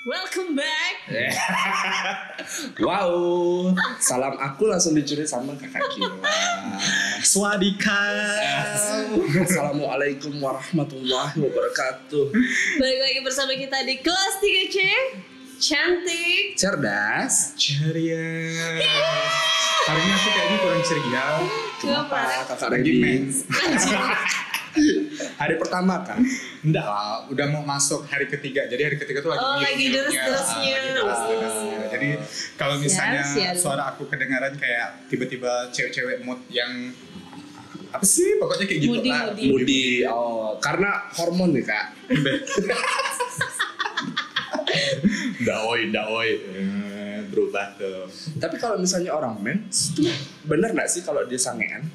Welcome back. wow, salam aku langsung dicuri sama kakak Kila. Swadika. Assalamualaikum warahmatullahi wabarakatuh. Balik lagi bersama kita di kelas 3C. Cantik. Cerdas. Ceria. Hari ini aku kayaknya kurang ceria. Kenapa kakak Lagi Randy? mens. Hari pertama kan? Enggak lah, udah mau masuk hari ketiga. Jadi hari ketiga tuh lagi Oh, lagi Oh. nyut-nyutnya. deres-deresnya. Ah, lagi deres-deresnya. Jadi kalau Sial, misalnya sial. suara aku kedengaran kayak tiba-tiba cewek-cewek mood yang apa sih pokoknya kayak gitu Moody, lah. moody. Budi. Oh, karena hormon nih kak. Daoi, daoi. Eh, Berubah tuh. Tapi kalau misalnya orang mens, tuh bener nggak sih kalau dia sangean?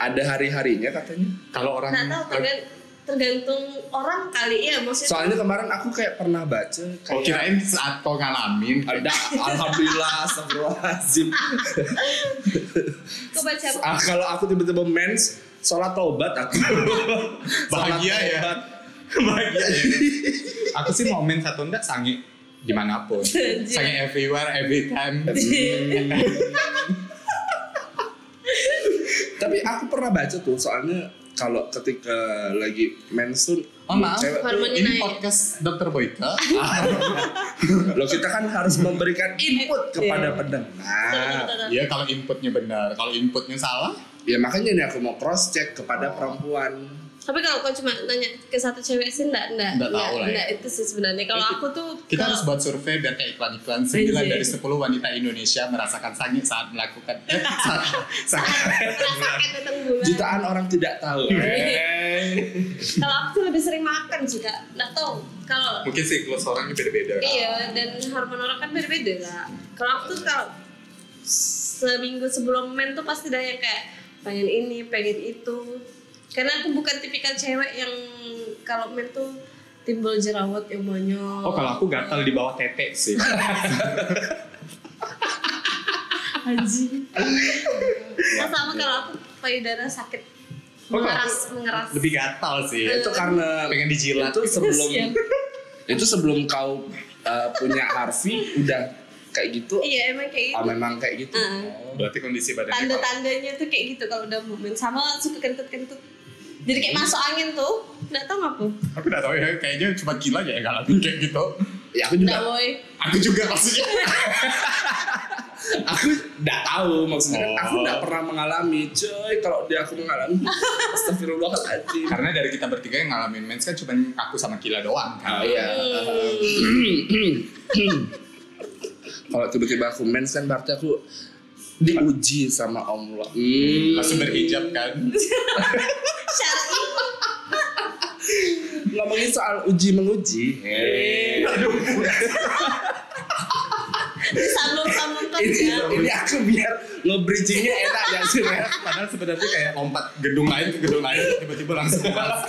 Ada hari-harinya katanya. Kalau orang Nggak tahu tergan- tergantung orang kali ya maksudnya. Soalnya kemarin aku kayak pernah baca kayak Oh kirain saat kau ngalamin ada alhamdulillah astagfirullahalazim. Coba siapa? Ah, kalau aku tiba-tiba mens, sholat taubat aku. Bahagia Sholat ya. taubat. bahagia ya. Aku sih mau main satu ndak sange dimanapun. Anjir. Sange everywhere, every time. Tapi aku pernah baca tuh soalnya kalau ketika lagi mens tuh Oh maaf, cewek tuh, Hormonnya ini naik. podcast Dokter Ah, Boyka. loh kita kan harus memberikan input kepada Iya. pendengar. Iya kalau inputnya benar, kalau inputnya salah. Ya makanya nih aku mau cross check kepada perempuan. Tapi kalau kau cuma nanya ke satu cewek sih enggak enggak Nggak tahu lah ya. itu sih sebenarnya. Kalau aku tuh Kita kalau- harus buat survei biar kayak iklan-iklan 9 Anjir. dari 10 wanita Indonesia merasakan sange saat melakukan eh, saat, saat, merasakan datang bulan. Jutaan orang tidak tahu. Iya. Eh. Kalau aku tuh lebih sering makan sih kak. Nggak tahu. Kalau Mungkin siklus orangnya beda-beda. Iya, dan hormon orang kan beda-beda lah. Kalau aku tuh kalau seminggu sebelum men tuh pasti udah yang kayak pengen ini, pengen itu. Karena aku bukan tipikal cewek yang kalau men tuh timbul jerawat yang banyak. Oh kalau aku gatal di bawah tete sih. Anjing. nah, sama kalau aku payudara sakit Oh, kalau mengeras, aku mengeras. Lebih gatal sih. Ya, itu karena Pengen dijilat. itu sebelum Kasian. itu sebelum kau eh, punya Harvey udah kayak gitu. Iya, emang kayak Ah, gitu. memang kayak gitu. Heeh. Berarti kondisi badannya kalau- tanda-tandanya tuh kayak gitu kalau udah momen sama suka kentut-kentut jadi Hmm. kayak masuk angin tuh nggak tahu apa Aku gak tau ya, kayaknya cuma gila aja ya ngalamin kayak gitu. Ya aku nggak juga boy Aku juga maksudnya. aku nggak tahu maksudnya kan aku Oh. nggak pernah mengalami cuy kalau dia aku mengalami astagfirullahaladzim Karena dari kita bertiga yang ngalamin mens kan cuma aku sama Gila doang kan. oh iya kalau tiba-tiba aku mens kan berarti aku diuji sama Allah Hmm. Langsung berhijab kan. syar'i ngomongin soal uji menguji Aduh. disalur-salurkan ini, ya ini aku biar nge-bridgingnya enak ya sih Mer? Padahal sebenarnya kayak lompat gedung lain ke gedung lain tiba-tiba langsung bahas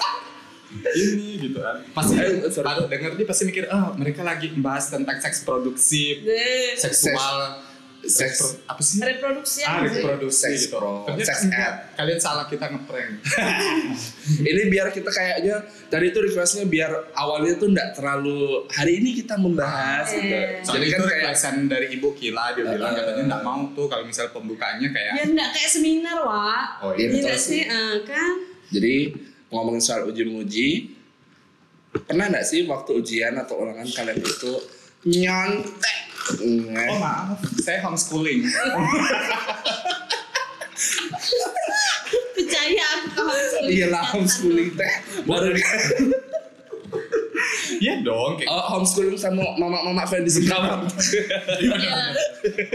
ini gitu kan. Pasti Eh, sorry. baru denger dia pasti mikir, oh mereka lagi membahas tentang seks produksi, Deh. seksual, Seks- pro- apa sih? reproduksi Ah, apa sih? reproduksi Seks gitu. pro- Ternyata seks enggak. ad. Kalian salah kita ngeprank. ini biar kita kayaknya tadi itu requestnya biar awalnya tuh nggak terlalu hari ini Iya. kita membahas gitu. Eh. Soalnya jadi kan itu kayak requestan dari Ibu Kila dia bilang Eh. katanya nggak mau tuh kalau misal pembukaannya kayak ya nggak kayak seminar wak oh iya. iya, Iya betul nggak sih Eh, kan Jadi ngomongin soal uji menguji, pernah nggak sih waktu ujian atau ulangan kalian itu nyontek? Oh Nge- maaf, saya homeschooling. percaya aku ke homeschooling Iya lah homeschooling teh baru di Iya dong. Kayak, oh, homeschooling sama mama-mama fan di Singkawang. Iya.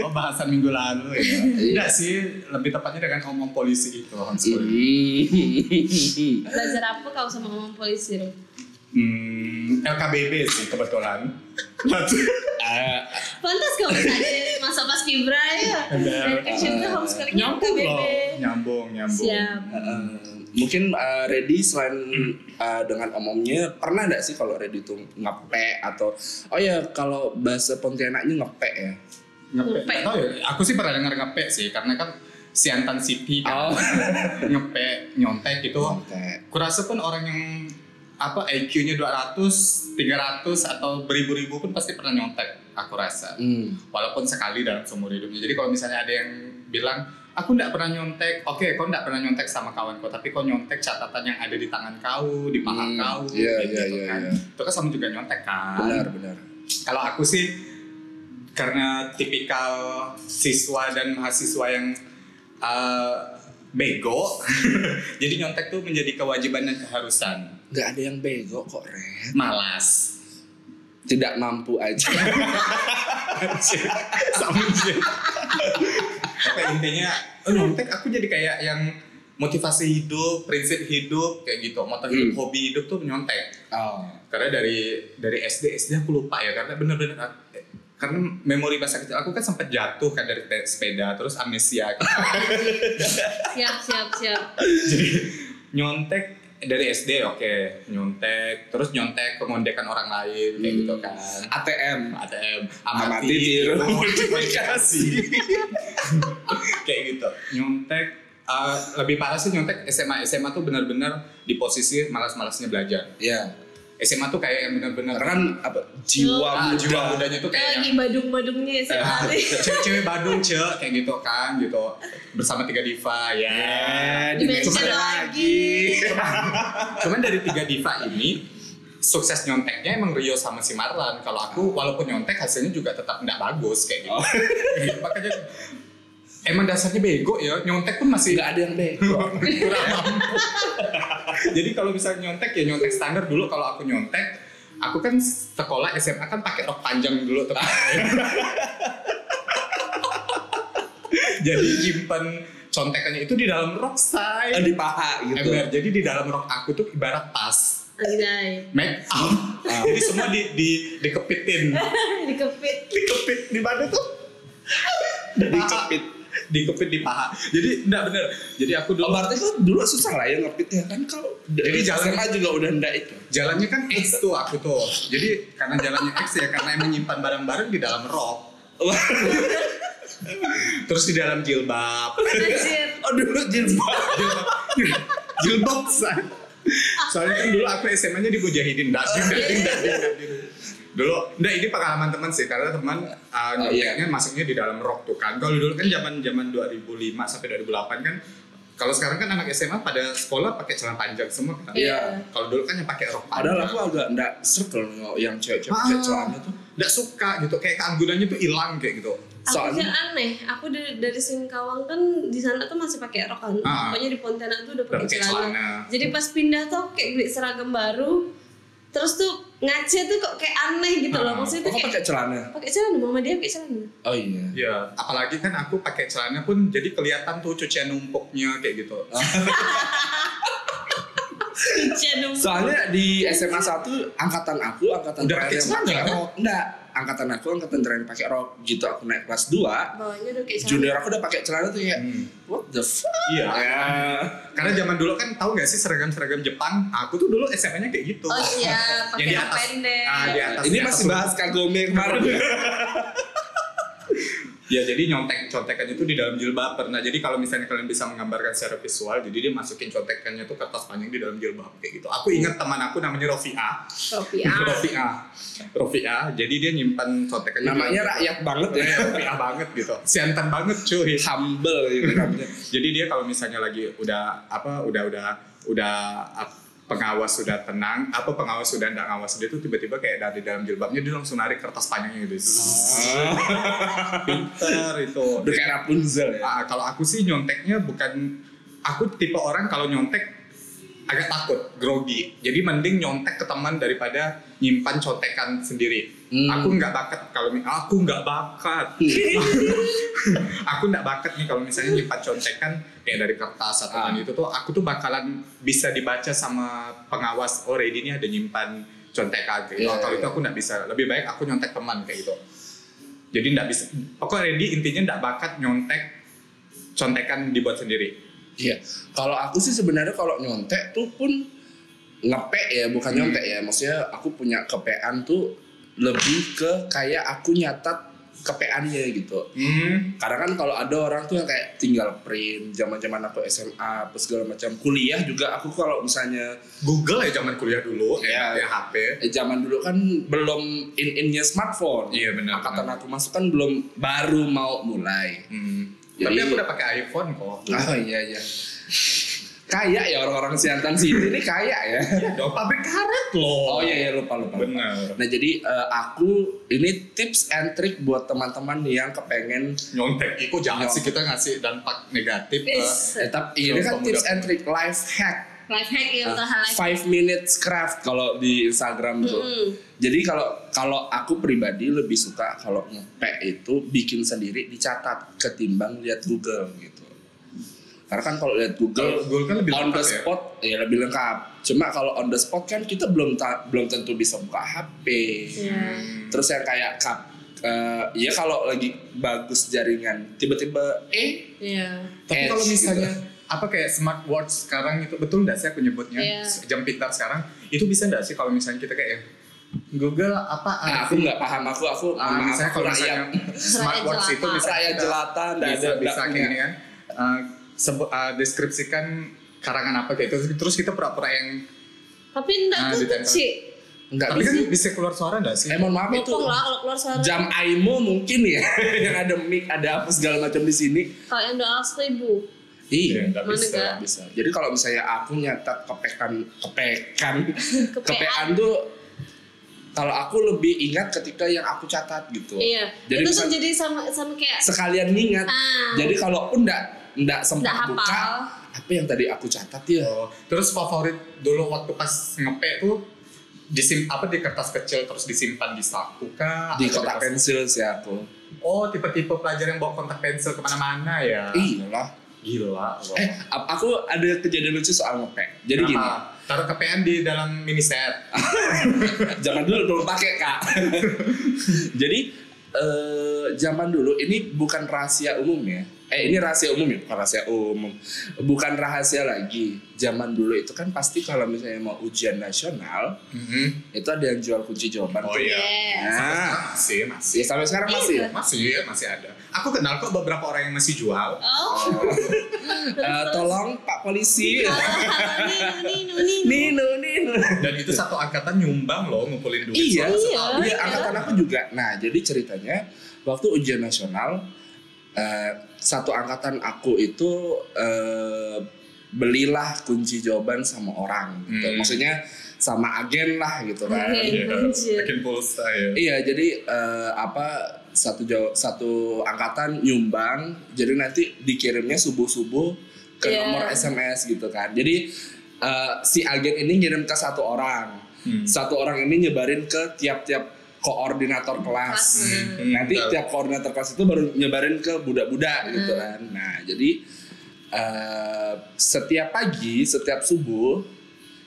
oh bahasan minggu lalu ya. Enggak sih, lebih tepatnya dengan omong polisi gitu, itu Iya. homeschooling. Hmm. belajar apa kau sama ngomong polisi Rom? Hmm, LKBB sih kebetulan. Ah, pantas kau bisa aja masa pas kibra ya dari kecil tuh homeschooling nyambung loh, KBB nyambung, nyambung. siap eh, mungkin eh, Reddy selain eh, dengan om-omnya pernah nggak sih kalau Reddy tuh ngepe atau oh ya kalau bahasa Pontianaknya ngepe ya Ngepek. Ngepek. Nggak tahu ya, aku sih pernah dengar ngepek sih, karena kan Siantan City kan Oh. ngepek, nyontek gitu. Ngepe. Kurasa pun orang yang apa IQ-nya 200, 300 atau beribu-ribu pun pasti pernah nyontek aku rasa. Hmm. Walaupun sekali dalam seumur hidupnya. Jadi kalau misalnya ada yang bilang aku nggak pernah nyontek, oke kau nggak pernah nyontek sama kawan kau, tapi kau nyontek catatan yang ada di tangan kau, di paha Hmm, kau, iya, kayak iya, gitu iya, kan. iya. Itu kan sama juga nyontek kan. Benar, benar. Kalau aku sih karena tipikal siswa dan mahasiswa yang uh, bego, jadi nyontek tuh menjadi kewajiban dan keharusan. Gak ada yang bego kok, Ren. Malas. Tidak mampu aja. Sama aja. Tapi intinya eh, nyontek aku jadi kayak yang motivasi hidup, prinsip hidup kayak gitu, motor hidup, Hmm. hobi hidup tuh nyontek. oh. karena dari dari SD SD aku lupa ya karena bener-bener eh, karena memori masa kecil aku kan sempat jatuh kan dari te- sepeda terus amnesia gitu. siap siap siap jadi nyontek eh, dari SD oke nyontek terus nyontek kemondekan orang lain kayak gitu kan ATM. ATM Amati, amati tiru, tiru modifikasi. modifikasi Oh, kayak gitu nyontek eh, lebih parah sih nyontek SMA SMA tuh bener-bener di posisi malas-malasnya belajar Ya. SMA tuh kayak yang bener-bener Karena kan apa jiwa Ah, muda. jiwa mudanya tuh kayak yang- lagi badung-badungnya sih tadi cewek-cewek Badung cek kayak gitu kan gitu bersama tiga diva ya dimension Cuman- lagi. cuman dari tiga diva ini sukses nyonteknya emang Rio sama si Marlan kalau aku walaupun nyontek hasilnya juga tetap nggak bagus kayak gitu Oh. makanya emang dasarnya bego ya nyontek pun masih Gak ada yang bego. kurang mampu. Jadi kalau misalnya nyontek ya nyontek standar dulu kalau aku nyontek, aku kan sekolah SMA kan pakai rok panjang dulu tuh. Jadi simpen contekannya itu di dalam rok Eh, saya. Di paha gitu. Ember. Jadi di dalam rok aku tuh ibarat tas lagi naik make up. Jadi semua di di dikepitin, dikepit dikepit di mana tuh? Di paha. Dikepit. Dikepit di paha. Jadi enggak bener. Jadi aku dulu Oh, berarti kan dulu susah lah ya ngepit ya kan kalau dari Jadi Iya, jalan- SMA juga udah ndak itu. jalannya kan X tuh aku tuh jadi karena jalannya X ya karena emang nyimpan barang-barang di dalam rok terus di dalam jilbab anjir oh dulu jilbab. jilbab, jilbab say. soalnya kan dulu aku SMA nya di Mujahidin Dak, dik, dak, dik, dak, dik, dak, dik. dulu enggak ini pengalaman teman sih karena teman uh, Oh, iya. nyonteknya masuknya di dalam rok tuh kan kalau dulu kan zaman zaman 2005 sampai 2008 kan kalau sekarang kan anak SMA pada sekolah pakai celana panjang semua kan Iya. kalau dulu kan yang pakai rok panjang Padahal aku agak ndak circle yang cewek-cewek pakai cewek celana tuh. nggak suka gitu kayak keanggunannya tuh hilang kayak gitu Aku Soalnya aja aneh, aku dari, dari Singkawang kan di sana tuh masih pakai rok kan. Ah. Pokoknya di Pontianak tuh udah pakai Udah pakai celana. celana. Jadi pas pindah tuh aku kayak beli seragam baru. Terus tuh ngaca tuh kok kayak aneh gitu Ah. loh. Maksudnya oh, tuh kok kayak pakai celana. pakai celana mama dia pakai celana. Oh iya. ya apalagi kan aku pakai celana pun jadi kelihatan tuh cucian numpuknya kayak gitu Iya Cucian dong. Soalnya di SMA 1 angkatan aku angkatan Udah pakai terakhir yang celana, pakai kan? rok. Enggak, angkatan aku angkatan terakhir pakai rok gitu aku naik kelas 2 Bawahnya udah kayak celana. junior aku udah pakai celana tuh ya Hmm. what the fuck iya ya karena zaman dulu kan tahu nggak sih seragam-seragam Jepang Nah, aku tuh dulu SMA nya kayak gitu Oh iya, pakai Yang di rok atas. pendek. Ah, di atas ini di atas masih tuh. bahas kagome kemarin ya jadi nyontek contekannya itu di dalam jilbab pernah jadi kalau misalnya kalian bisa menggambarkan secara visual jadi dia masukin contekannya tuh kertas panjang di dalam jilbab kayak gitu aku ingat teman aku namanya Rofi'ah Topi ah. Rofi'ah Rofi'ah jadi dia nyimpan contekannya di namanya dalam rakyat banget ya Kayak Rafi'ah banget gitu. Siantan banget cuy. humble gitu namanya Jadi dia kalau misalnya lagi udah apa udah udah udah ap- pengawas sudah tenang, apa pengawas sudah nggak ngawas dia tuh tiba-tiba kayak dari dalam jilbabnya dia langsung narik kertas panjangnya gitu. Zzz, Pinter itu. udah kayak Rapunzel ya Ah, kalau aku sih nyonteknya bukan aku tipe orang kalau nyontek agak takut, grogi. Jadi mending nyontek ke teman daripada nyimpan contekan sendiri. Hmm. Iya. Aku nggak bakat kalau mi- aku nggak bakat. aku nggak bakat nih kalau misalnya nyimpan contekan kayak dari kertas atau Ah. kan itu tuh aku tuh bakalan bisa dibaca sama pengawas. Oh, Reddy ini ada nyimpan contekan kayak gitu. Iya, kalau iya, itu aku nggak bisa. Lebih baik aku nyontek teman kayak gitu. Jadi nggak bisa. Pokoknya Reddy intinya nggak bakat nyontek contekan dibuat sendiri. iya kalau aku sih sebenarnya kalau nyontek tuh pun ngepek ya bukan Hmm. nyontek ya maksudnya aku punya kepean tuh lebih ke kayak aku nyatat kepeannya gitu Hmm. karena kan kalau ada orang tuh yang kayak tinggal print zaman zaman aku SMA apa segala macam kuliah juga aku kalau misalnya Google ya zaman kuliah dulu, Iya. ya, ya HP. eh, zaman dulu kan belum in innya smartphone Iya, benar, angkatan benar. aku masuk kan belum baru mau mulai Hmm. Jadi- Tapi aku udah pakai iPhone kok. oh iya iya kaya ya orang-orang siantan sini ini kaya ya Udah pabrik karet loh. oh iya iya lupa lupa, lupa. Bener. Nah jadi eh, aku ini tips and trick buat teman-teman yang kepengen Nyontek, Ih, kok jangan sih kita ngasih dampak negatif ke Is tetap ini kan tips and trick life hack. life hack ya untuk hal life. Five minutes craft kalau di Instagram tuh. Mm-mm. Jadi kalau kalau aku pribadi lebih suka kalau ngepek itu bikin sendiri dicatat ketimbang lihat Google gitu. Karena kan kalau lihat Kalau Google Google kan lebih on the lengkap ya. spot ya? lebih lengkap. Cuma kalau on the spot kan kita belum ta- belum tentu bisa buka HP. Iya. terus yang kayak kap eh, ya kalau lagi bagus jaringan tiba-tiba eh Iya. Tapi Edge kalau misalnya gitu. apa kayak smartwatch sekarang itu betul nggak sih aku nyebutnya Iya. jam pintar sekarang itu bisa nggak sih kalau misalnya kita kayak Google apa nah, aku nggak paham aku aku Ah, maaf, misalnya aku kalau rakyat misalnya smartwatch itu bisa rakyat kita- jelata nggak ada bisa bisa kayak nggak punya. gini kan Eh, sebe- eh, deskripsikan karangan apa kayak itu terus kita pura-pura yang Tapi enggak Nah, tuh ditempel. kecil. nggak tapi bisa kan bisa keluar suara nggak sih eh mohon maaf itu Bopong lah kalau keluar suara. jam Aimo mungkin ya yang ada mic ada apa segala macam di sini Kalau yang doa seribu. Iya, nggak Mana bisa nggak? bisa. Jadi kalau misalnya aku nyatat kepekan, kepekan, Kepean. kepean tuh kalau aku lebih ingat ketika yang aku catat gitu. Iya. Jadi itu misal- tuh jadi sama sama kayak sekalian ngingat. Ah. Jadi kalaupun enggak enggak sempat Nggak hafal. buka apa yang tadi aku catat ya. Oh, terus favorit dulu waktu pas ngepek tuh disim apa di kertas kecil terus disimpan di saku kah? Di Atau kotak kertas- pensil sih aku. Oh, tipe-tipe pelajar yang bawa kontak pensil kemana-mana Ah. ya? Iya lah. Gila. loh. Eh, ap- aku ada kejadian lucu soal ngepek. Jadi gini, Kenapa? Taruh kepean di dalam mini set. zaman dulu belum pakai kak. Jadi eh, zaman dulu ini bukan rahasia umum ya. Eh ini rahasia umum ya, bukan rahasia umum. Bukan rahasia lagi. Zaman dulu itu kan pasti kalau misalnya mau ujian nasional itu ada yang jual kunci jawaban. Mm-hmm. Oh tuh. iya. Yes. Nah, Masih, masih. ya sampai sekarang Iya. masih. Masih, masih ada. Aku kenal kok beberapa orang yang masih jual. Oh. Eh, tolong Iya. Pak Polisi. Iya. Nino, Nino, Nino. Nino, Nino. Dan itu satu angkatan nyumbang loh ngumpulin duit. Iya, Iya, selama setahun. iya iya. angkatan aku juga. Nah, jadi ceritanya waktu ujian nasional eh, satu angkatan aku itu eh, belilah kunci jawaban sama orang. Gitu. Hmm. Maksudnya sama agen lah gitu kan. Agen. Iya, Anjir. bikin pulsa ya. Iya, jadi eh, apa satu jaw- satu angkatan nyumbang, jadi nanti dikirimnya subuh subuh ke Iya. nomor SMS gitu kan. Jadi eh, si agen ini ngirim ke satu orang, Hmm. satu orang ini nyebarin ke tiap-tiap koordinator kelas. Kelas. Hmm, Nanti bentar. tiap koordinator kelas itu baru nyebarin ke budak-budak gitu kan. Nah, jadi eh, setiap pagi, setiap subuh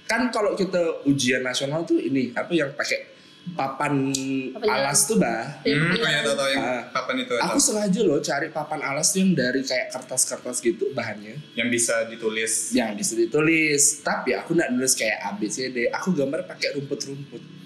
kan kalau kita ujian nasional tuh ini apa yang pakai papan Papan alas tuh bah. Hmm, oh iya, tahu-tahu yang Ah. kapan itu Iya. tahu. Aku sengaja loh cari papan alas tuh yang dari kayak kertas-kertas gitu bahannya yang bisa ditulis. yang bisa ditulis. Tapi aku nggak nulis kayak A B C D. Aku gambar pakai rumput-rumput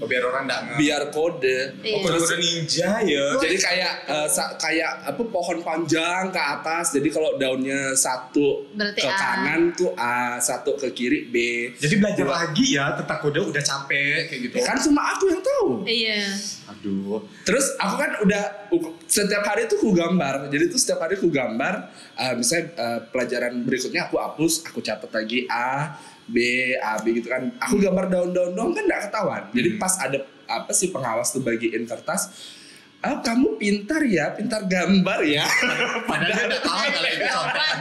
Oh, biar orang nggak nge- biar kode. Iya. Oh, kode-kode ninja ya. Jadi kayak eh, sa- kayak apa pohon panjang ke atas. Jadi kalau daunnya satu Berarti ke A. kanan tuh A, satu ke kiri B. Jadi belajar lagi ya tentang kode udah capek kayak gitu. Ya kan cuma aku yang tahu. Iya. Aduh. Terus aku kan udah setiap hari tuh ku gambar. Jadi tuh setiap hari ku gambar eh, misalnya eh, pelajaran berikutnya aku hapus, aku catat lagi A, B, A, B gitu kan. Aku gambar daun-daun doang kan nggak ketahuan. Jadi Hmm. pas ada apa sih pengawas tuh bagiin kertas Ah, kamu pintar ya, pintar gambar ya. Padahal dia udah tahu kalau itu contekan.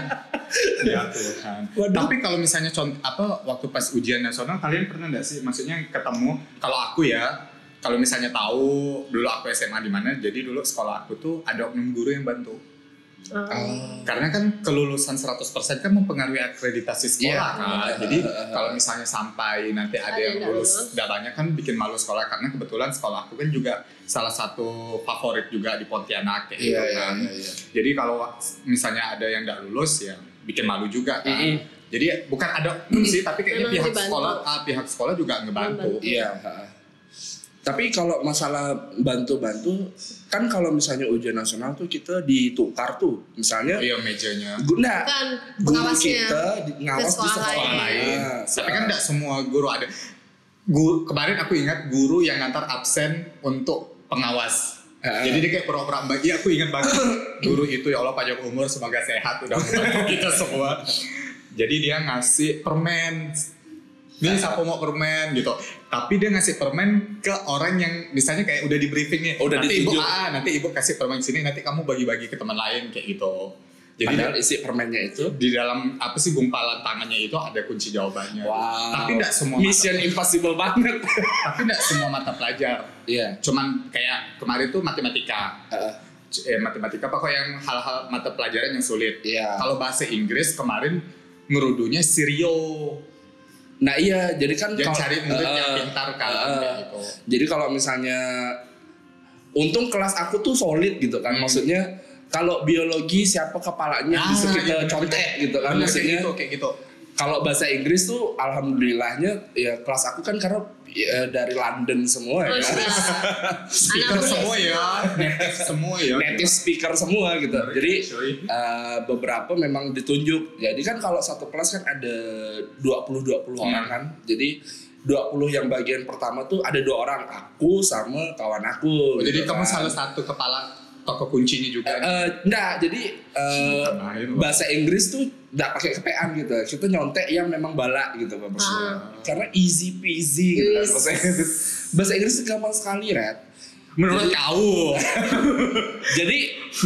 Ya Tuhan. Waduh. Tapi kalau misalnya contoh apa waktu pas ujian nasional kalian pernah nggak sih maksudnya ketemu kalau aku ya kalau misalnya tahu dulu aku SMA di mana jadi dulu sekolah aku tuh ada oknum guru yang bantu. Oh. Karena kan kelulusan 100% kan mempengaruhi akreditasi sekolah Iya. kan. Jadi kalau misalnya sampai nanti Ada ada, yang yang nggak lulus nggak banyak kan bikin malu sekolah karena kebetulan sekolah aku kan juga salah satu favorit juga di Pontianak kayak gitu Iya, iya, kan. iya, iya. Jadi kalau misalnya ada yang nggak lulus ya bikin malu juga kan. Mm-mm. Jadi bukan ada oknum sih tapi kayaknya Memang pihak dibantu. sekolah ah, pihak sekolah juga Membantu. ngebantu. Iya. ha. Tapi kalau masalah bantu-bantu, kan kalau misalnya ujian nasional tuh kita ditukar tuh, misalnya Iya mejanya. guna Bukan guru pengawasnya. kita di, ngawas Ke di sekolah sekolah Orang Iya. lain. lain. Tapi kan tidak semua guru ada. Guru, kemarin aku ingat guru yang ngantar absen untuk pengawas. Heeh. Jadi dia kayak pura-pura mbak. Iya aku ingat banget guru itu ya Allah panjang umur semoga sehat udah membantu kita semua. Jadi dia ngasih permen. Ini siapa mau permen gitu. Tapi dia ngasih permen ke orang yang misalnya kayak udah di briefing nih. Oh, Udah nanti ibu ditunjuk. AA, nanti ibu kasih permen sini nanti kamu bagi-bagi ke teman lain kayak gitu. Jadi dia- Padahal isi permennya itu di dalam apa sih gumpalan tangannya itu ada kunci jawabannya. Tapi tidak semua Mission mata, impossible banget. tapi tidak semua mata pelajar. Iya. Cuman kayak kemarin tuh matematika. Heeh. C- Eh, matematika apa kok yang hal-hal mata pelajaran yang sulit. Iya. Kalau bahasa Inggris kemarin ngerudunya Sirio. Nah iya, jadi kan Jadi kalau- cari murid yang Heeh. pintar kan Heeh. kayak gitu. Jadi kalau misalnya untung kelas aku tuh solid gitu kan. Hmm. Maksudnya kalau biologi siapa kepalanya Ah, iya, bisa kita bener-bener. Nah, contek gitu kan Bener, maksudnya. kayak gitu, kayak gitu. Kalau bahasa Inggris tuh alhamdulillahnya ya kelas aku kan karena ya, dari London semua ya. Oh, sudah. Speaker Anak semua ya, native semua ya. Native speaker semua gitu. Bener, Jadi cuy. eh, beberapa memang ditunjuk. Jadi kan kalau satu kelas kan ada 20 20 orang Hmm. kan. Jadi 20 yang bagian pertama tuh ada dua orang, aku sama kawan Oh, aku. Jadi gitu kamu kan. salah satu ya? kepala toko kuncinya juga. Eh, eh, enggak, jadi eh, Tambahin loh. bahasa Inggris tuh enggak pakai kepean gitu. Kita nyontek yang memang bala gitu Pak, maksudnya. Karena easy peasy gitu kan. Yes. Bahasa Inggris, bahasa Inggris tuh gampang sekali, Red. Menurut kau. Jadi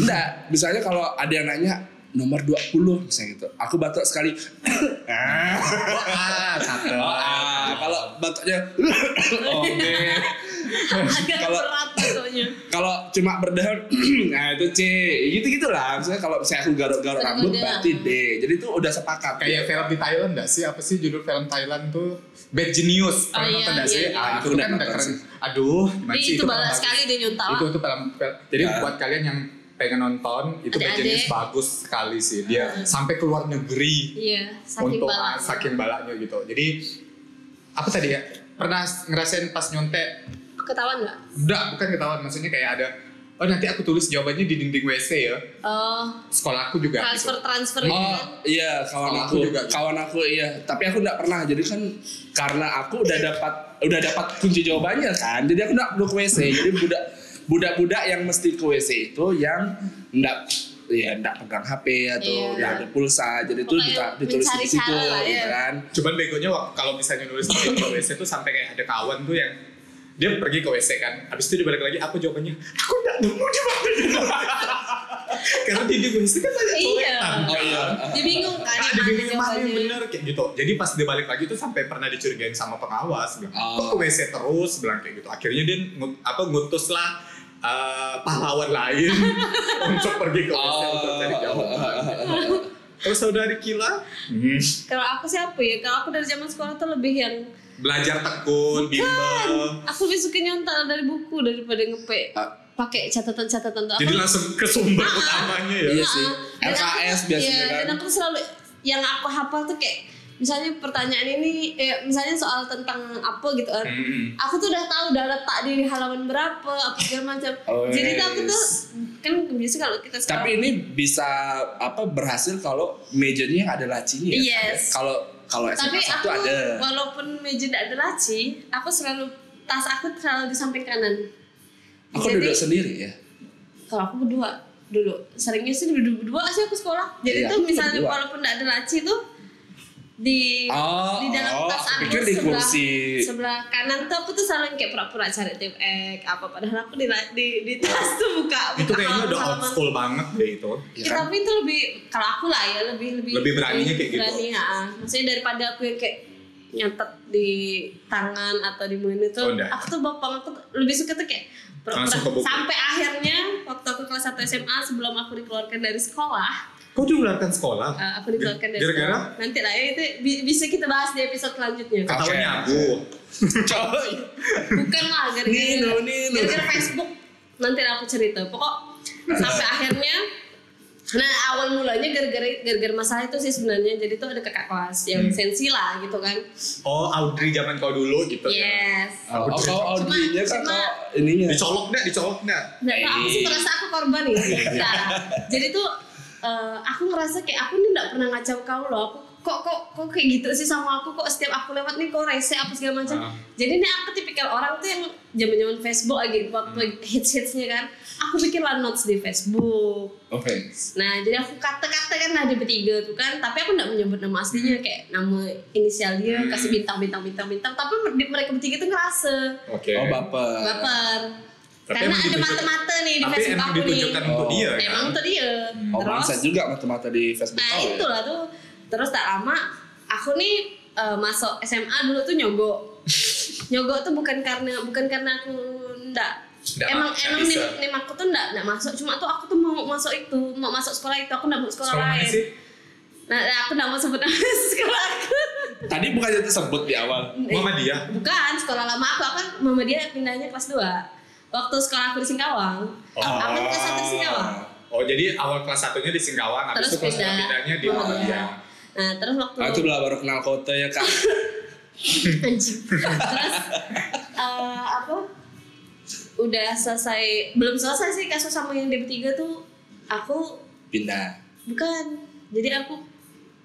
enggak, misalnya kalau ada yang nanya nomor 20 misalnya gitu. Aku batuk sekali. Ah, satu. Oh, ah. kalau batuknya oh, Agak Kalau- berat pokoknya. kalau cuma berdahar nah itu C gitu-gitu lah misalnya kalau misalnya aku garuk-garuk Kalau rambut udah. berarti D jadi itu udah sepakat kayak film di Thailand gak sih? Apa sih judul film Thailand tuh? Bad Genius. Oh, Pernah iya, nonton gak iya, sih? iya. Ah, itu Aku kan udah udah nonton keren. sih. Aduh, gimana Jadi sih? itu film balas bagus. sekali dia nyontawa. Itu itu film, film- Jadi Ah. buat kalian yang pengen nonton, itu Bad Adik-adik. Genius bagus sekali sih. Ah. Dia sampai ke luar negeri Iya, saking untuk ah, balak. saking balaknya gitu. Jadi apa tadi ya? Pernah ngerasain pas nyontek Ketahuan nggak? Enggak, bukan ketahuan. Maksudnya kayak ada, oh nanti aku tulis jawabannya di dinding WC ya. Oh, Sekolah aku juga transfer gitu. transfer kan. Oh iya Kawan kawan aku, aku juga gitu. kawan aku iya. Tapi aku nggak pernah. Jadi kan karena aku udah dapat udah dapat kunci jawabannya kan. Jadi aku nggak perlu ke WC. Jadi budak budak-budak yang mesti ke WC itu yang nggak ya nggak pegang HP Iya. atau nggak ada pulsa. Jadi itu Pokoknya ditulis di mencari situ cara lah, gitu ya. kan. Cuman begonya waktu kalau misalnya nulis di dinding WC tuh sampai kayak ada kawan tuh yang dia pergi ke WC kan. Habis itu dia balik lagi, aku jawabannya, aku nggak nemu di mana di WC." Karena dinding WC kan banyak Iya. coretan. Oh iya. Dia bingung kan Nah, yang dia mana bingung mana yang jawabannya. bener kayak gitu. Jadi pas dia balik lagi tuh sampai pernah dicurigain sama pengawas, bilang, Ah. kok ke WC terus, bilang kayak gitu. Akhirnya dia ngu- apa ngutus lah eh, pahlawan lain untuk pergi ke Iya, WC Oh. untuk cari jawaban. Kalau saudari Kila, hmm. Kalau aku sih apa ya? Kalau aku dari zaman sekolah tuh lebih yang "Kan, belajar tekun, bimbel, aku lebih suka nyontak dari buku daripada ngepek Ah. pakai catatan-catatan tuh. Aku jadi langsung ke sumber utamanya ya. Iya sih. Dan aku- LKS biasanya iya, kan. Dan aku selalu yang aku hafal tuh kayak misalnya pertanyaan ini eh, misalnya soal tentang apa gitu kan. Mm. Aku tuh udah tahu udah letak di halaman berapa apa segala macam. Oh, Jadi tuh aku yes. tuh kan biasa kalau kita sekolah Tapi ini bisa apa berhasil kalau mejanya yang ada lacinya. ya? Yes. Kalau kalau Tapi SMA aku satu ada. ya walaupun meja tidak ada laci, aku selalu tas aku selalu di samping kanan. Aku Jadi- duduk sendiri ya. kalau aku berdua dulu seringnya sih berdua, berdua sih aku sekolah jadi Iya, tuh aku misalnya berdua. walaupun nggak ada laci tuh di Oh, di dalam oh, tas aku aku pikir di sebelah kursi. sebelah kanan tuh aku tuh selalu kayak pura-pura cari tim ek apa padahal aku di la- di, di tas tuh buka Itu buka kayaknya udah old halaman-halaman. school banget deh itu. Ya Ya, kan? tapi itu lebih kalau aku lah ya lebih lebih Iya. Lebih beraninya kayak gitu. berani, ya. maksudnya daripada aku yang kayak nyatet di tangan atau di mana tuh Oh, enggak. aku tuh bapang aku tuh lebih suka tuh kayak pura-pura. Langsung ke buku. sampai akhirnya waktu aku kelas 1 SMA sebelum aku dikeluarkan dari sekolah Kok diularkan sekolah? eh, aku dikeluarkan dari Gara-gara? sekolah nanti lah ya itu bi- bisa kita bahas di episode selanjutnya Oke. Ketahuan nyabu. Coy. bukan lah gara-gara Nino, Nino. gara-gara Facebook nanti aku cerita pokok sampai akhirnya Nah awal mulanya gara-gara gara-gara masalah itu sih sebenarnya jadi tuh ada kakak kelas yang Hmm. sensi lah gitu kan. Oh Audrey zaman kau dulu gitu ya. Yes. Oh, oh, kau Audrey-nya kan Cuma- kau Iya. ininya. Dicolok dah, dicolok dah. Nggak tahu, aku sih merasa aku korban ya. Nah, jadi tuh eh, aku ngerasa kayak aku nih nggak pernah ngacau kau loh. Aku kok kok kok kayak gitu sih sama aku kok setiap aku lewat nih kok rese apa segala macam. Ah. Jadi nih aku tipikal orang tuh yang zaman-zaman Facebook lagi waktu hits-hitsnya kan. Aku bikin lah notes di Facebook. Oke. Nah, jadi aku kata-kata kan ada bertiga tuh kan, tapi aku nggak menyebut nama aslinya kayak nama inisial dia, Hmm. kasih bintang bintang bintang bintang, tapi di- mereka bertiga tuh ngerasa Oke. Oh baper. baper. Eh, Tapi Karena emang ada ditunjuk- mata-mata nih di Tapi Facebook emang aku nih. ditunjukkan untuk Oh. dia kan. Emang tuh dia. Oh Terus mindset juga mata-mata di Facebook nah kau ya? itulah tuh. Terus tak lama aku nih eh, masuk SMA dulu tuh nyogok. nyogok tuh bukan karena bukan karena aku ndak Nggak emang ma- nggak emang bisa. nim, nim aku tuh ndak ndak masuk cuma tuh aku tuh mau masuk itu mau masuk sekolah itu aku ndak mau sekolah, ya? Sekolah mana lain sih? Nah, nah, aku nggak mau sebut nama sekolah aku. Tadi bukannya disebut di awal. Hmm, Mama dia. Bukan, sekolah lama aku. Aku kan mama dia pindahnya kelas 2. Waktu sekolah aku di Singkawang. Oh. Aku di kelas 1 di Singkawang. Oh jadi awal kelas satunya di Singkawang, habis itu Terus kelas pindah. pindahnya di Oh, Mama iya. dia. Nah, terus waktu... Nah, itu baru kenal kota ya kak. Anjing. terus, eh, apa? Udah selesai... Belum selesai sih kasus sama yang DP3 tuh. Aku Pindah. Bukan. Jadi aku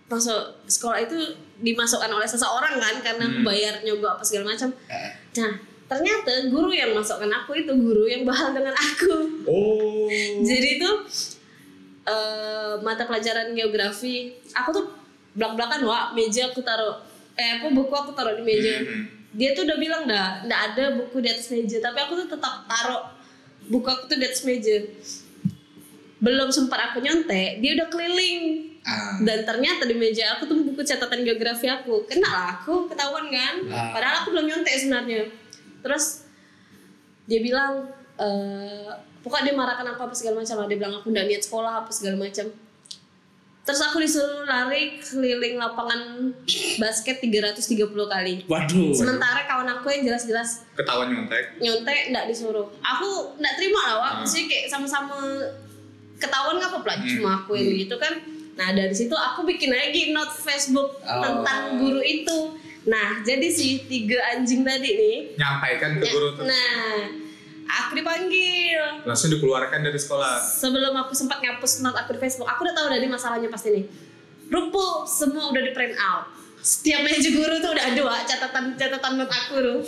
masuk sekolah itu dimasukkan oleh seseorang kan karena aku Hmm. bayar nyogok apa segala macam. Ah. Nah, ternyata guru yang masukkan aku itu guru yang bahal dengan aku. Oh. Jadi itu eh, mata pelajaran geografi, aku tuh belak-belakan wah meja aku taruh eh apa buku aku taruh di meja. Hmm. Dia tuh udah bilang dah, nggak ada buku di atas meja, tapi aku tuh tetap taruh buku aku tuh di atas meja. Belum sempat aku nyontek, dia udah keliling Ah. dan ternyata di meja aku tuh buku catatan geografi aku kena lah aku ketahuan kan Ah. padahal aku belum nyontek sebenarnya terus dia bilang eh pokoknya dia marahkan aku apa segala macam lah dia bilang aku udah niat sekolah apa segala macam terus aku disuruh lari keliling lapangan basket 330 kali Waduh. sementara kawan aku yang jelas-jelas Ketahuan nyontek. nyontek nggak disuruh aku nggak terima lah wak Ah. maksudnya kayak sama-sama ketahuan nggak apa-apa Hmm. cuma aku yang gitu kan nah dari situ aku bikin lagi note Facebook Oh. tentang guru itu nah jadi si tiga anjing tadi nih Nyampaikan ke ya, guru tuh. nah aku dipanggil Langsung dikeluarkan dari sekolah. sebelum aku sempat ngapus note aku di Facebook aku udah tahu dari masalahnya pasti nih rumpul semua udah di print out setiap meja guru tuh udah ada Wak, catatan catatan note aku tuh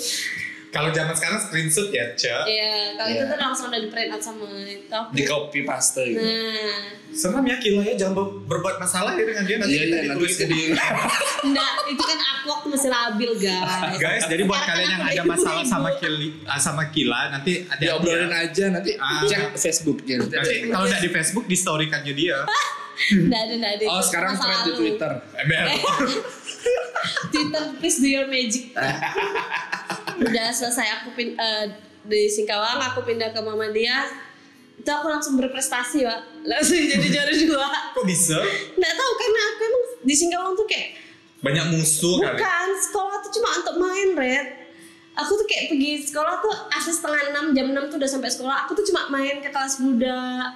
Kalau zaman sekarang screenshot ya, Cak. Iya, kalau itu Iya. tuh langsung udah di print out sama itu. Di copy paste gitu. Nah, Senam ya Kila ya, jangan ber- berbuat masalah ya dengan dia nanti Iya kita iya nanti ditulis. kita di enggak, itu kan aku waktu masih labil guys. Guys, jadi buat Sekarang kalian yang aku gitu, ada ibu-ibu. masalah sama Kili, ah, sama Kila nanti ada diobrolin Ya, aja nanti Ah. cek Facebooknya. Nanti ada Nanti yang- kalau nggak di Facebook di storykannya dia. Enggak ada, enggak ada. Oh Itu sekarang masa thread di lalu. Twitter. Ember. Eh, Twitter please do your magic. udah selesai aku pin eh, di Singkawang, aku pindah ke Mama dia. Itu aku langsung berprestasi, Pak. Langsung jadi juara dua. Kok bisa? Enggak tahu karena aku emang di Singkawang tuh kayak Banyak musuh kali. Bukan, sekolah tuh cuma untuk main, Red. Aku tuh kayak pergi sekolah tuh asal setengah enam, jam enam tuh udah sampai sekolah. Aku tuh cuma main ke kelas budak.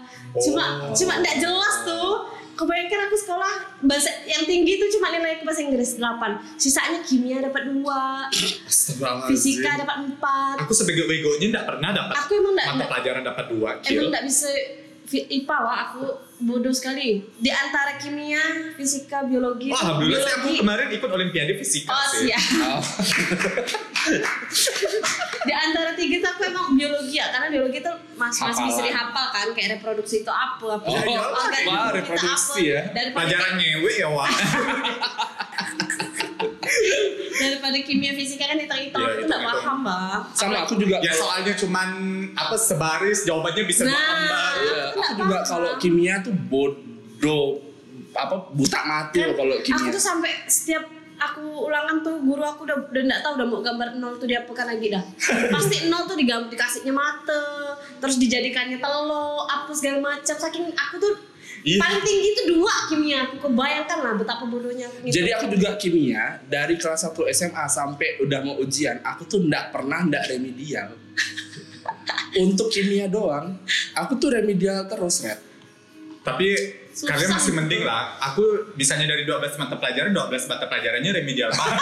Cuma, Oh. cuma nggak jelas tuh. Kebayangkan aku sekolah bahasa yang tinggi tuh cuma nilai ke bahasa Inggris 8 Sisanya kimia dapat dua, Astagfirullahaladzim. fisika dapat empat. Aku sebego-begonya nggak pernah dapat. Aku emang nggak- mata pelajaran dapat dua Emang kilo. nggak bisa fi- IPA wah aku bodoh sekali. Di antara kimia, fisika, biologi, Wah, alhamdulillah sih aku biologi. kemarin ikut olimpiade fisika Oh sih. siap. Oh. di antara tiga tuh aku emang biologi ya karena biologi tuh mas mas Hafalan. bisa dihafal kan kayak reproduksi itu apa apa Oh, organisme wah, itu reproduksi apa. ya. daripada Pelajaran ngewe ya wah. daripada kimia fisika kan hitung hitung Iya, aku nggak hitung-hitung. paham bah Sama aku juga. ya soalnya cuman apa sebaris jawabannya bisa Nah. melambat. Iya, Aku aku nggak juga paham. kalau kimia tuh bodoh apa buta mati Kan loh Iya, kalau aku kimia. tuh sampai setiap aku ulangan tuh guru aku udah udah nggak tahu udah mau gambar nol tuh diapakan lagi dah pasti nol tuh digambar dikasihnya mata terus dijadikannya telur apa segala macam saking aku tuh Iya. paling tinggi tuh dua kimia aku kebayangkan lah betapa bodohnya aku gitu. Jadi aku juga kimia dari kelas 1 SMA sampai udah mau ujian, aku tuh ndak pernah ndak remedial. Untuk kimia doang, aku tuh remedial terus, Red. Tapi Susah Karena masih gitu. mending lah. Aku bisanya dari 12 mata pelajaran, 12 mata pelajarannya remedial banget.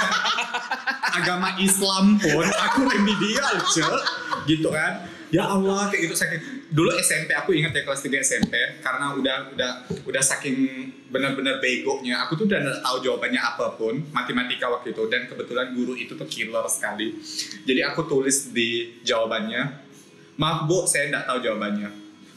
Agama Islam pun aku remedial, cek. Gitu kan. Ya Allah, kayak gitu saking dulu SMP aku ingat ya kelas 3 SMP karena udah udah udah saking benar-benar begonya aku tuh udah nggak tahu jawabannya apapun matematika waktu itu dan kebetulan guru itu tuh killer sekali jadi aku tulis di jawabannya maaf bu saya nggak tahu jawabannya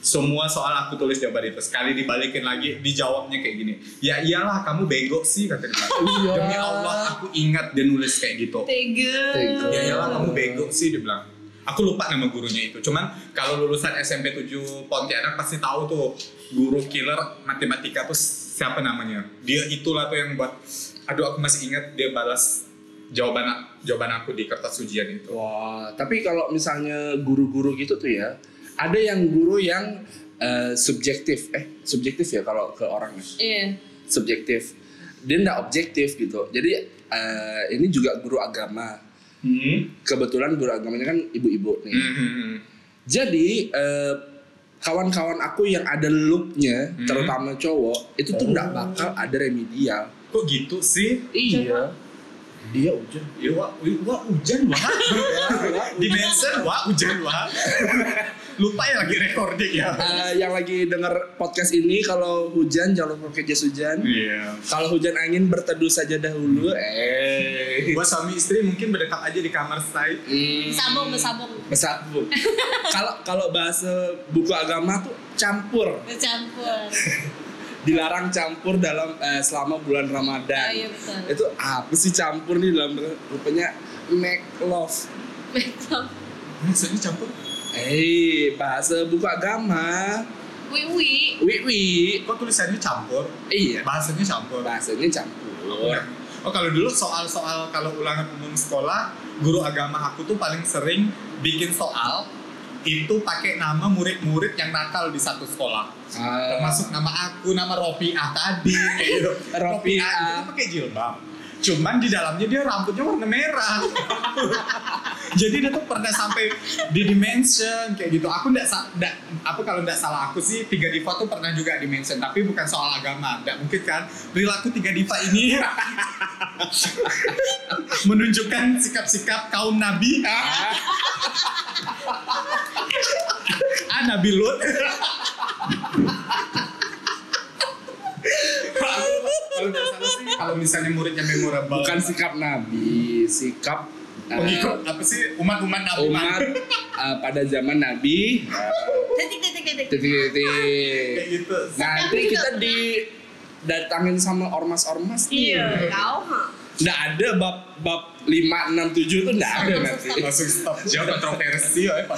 semua soal aku tulis jawaban itu sekali dibalikin lagi dijawabnya kayak gini ya iyalah kamu bego sih kata dia demi Allah aku ingat dia nulis kayak gitu Tega. Tega. ya iyalah kamu bego sih dia bilang aku lupa nama gurunya itu cuman kalau lulusan SMP 7 Pontianak pasti tahu tuh guru killer matematika tuh siapa namanya dia itulah tuh yang buat aduh aku masih ingat dia balas jawaban jawaban aku di kertas ujian itu Wah, tapi kalau misalnya guru-guru gitu tuh ya, ada yang guru yang eh, subjektif, eh subjektif ya kalau ke orangnya, Iya. subjektif. Dia nggak objektif gitu. Jadi eh, ini juga guru agama. hmm. Kebetulan guru agamanya kan ibu-ibu nih. Hmm. Jadi eh, kawan-kawan aku yang ada looknya, Hmm. terutama cowok, itu tuh nggak bakal ada remedial. kok gitu sih Oh. Iya. Dia ujian. Ya, wah, wih, wah hujan wah. Di mention wah hujan wah. Lupa ya lagi recording ya. Eh, yang lagi denger podcast ini kalau hujan jangan lupa pakai jas hujan. Iya. Kalau hujan angin berteduh saja dahulu. Eh. Buat suami istri mungkin berdekap aja di kamar saya. Hmm. Sabung, bersabung. Besabu. Kalau kalau bahasa buku agama tuh campur, Bercampur. dilarang campur dalam eh, selama bulan Ramadan. Oh, iya, betul. Itu apa sih campur nih dalam rupanya make love. Makeup. Maksudnya campur. Eh, bahasa buku agama. Wiwi. Wiwi. Kok tulisannya campur? Iya, Bahasanya campur. bahasanya campur. Oh kalau dulu soal-soal kalau ulangan umum sekolah guru agama aku tuh paling sering bikin soal itu pakai nama murid-murid yang nakal di satu sekolah. Ah. Eh, termasuk nama aku nama Ropiah tadi kayak gitu. Ropiah. itu kan pakai jilbab cuman di dalamnya dia rambutnya warna merah jadi dia tuh pernah sampai di dimension kayak gitu aku nggak sa- nggak- apa kalau nggak salah aku sih tiga diva tuh pernah juga dimension tapi bukan soal agama nggak mungkin kan perilaku tiga diva ini menunjukkan sikap-sikap kaum nabi ah nabi lut kalau nggak salah sih kalau misalnya muridnya memorable bukan sikap nabi sikap eh, pengikut apa sih umat-umat nabi umat eh, pada zaman nabi Titik, titik, titik. kayak titik-titik gitu nanti kita di datangin sama ormas-ormas nih. Iya, kau mah. nggak ada bab bab lima enam tujuh itu nggak ada nanti langsung stop jawab kontroversi ya Pak.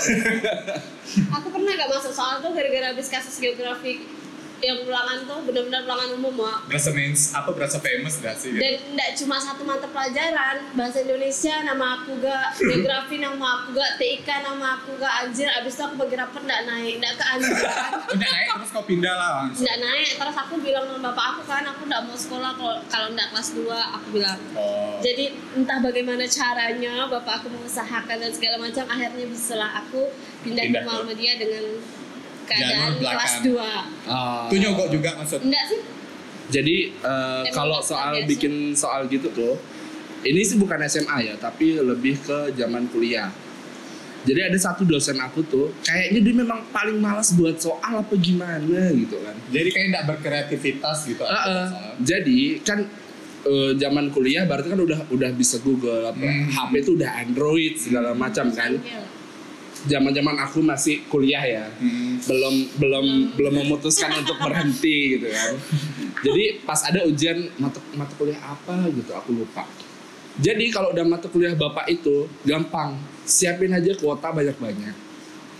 Aku pernah gak masuk soal tuh gara-gara habis kasus geografi yang ulangan tuh benar-benar ulangan umum, Wak. berasa mens apa berasa famous gak sih Dan tidak cuma satu mata pelajaran, bahasa Indonesia nama aku gak, geografi nama aku gak, TIK nama aku gak, anjir. Abis itu aku bagi rapor gak naik, gak ke anjir. udah naik terus kau pindah lah langsung Gak naik, terus aku bilang sama bapak aku kan, aku gak mau sekolah kalau kalau gak kelas 2, aku bilang. oh. Jadi entah bagaimana caranya bapak aku mengusahakan dan segala macam akhirnya bisalah aku pindah, ke Pindah ke- Muhammadiyah dengan keadaan Jalur belakang. kelas 2. Ah. itu nyogok juga maksud Enggak sih? jadi eh, kalau soal bikin soal gitu tuh ini sih bukan SMA ya tapi lebih ke zaman kuliah jadi ada satu dosen aku tuh kayaknya dia memang paling malas buat soal apa gimana gitu kan jadi kayak nggak berkreativitas gitu Heeh. Jadi kan eh, zaman kuliah berarti kan udah udah bisa Google apa Hmm. HP itu udah Android segala macam kan. Zaman-zaman aku masih kuliah ya. Hmm. Belum belum belum memutuskan untuk berhenti gitu kan. Jadi pas ada ujian mata mata kuliah apa gitu aku lupa. Jadi kalau udah mata kuliah Bapak itu gampang. Siapin aja kuota banyak-banyak.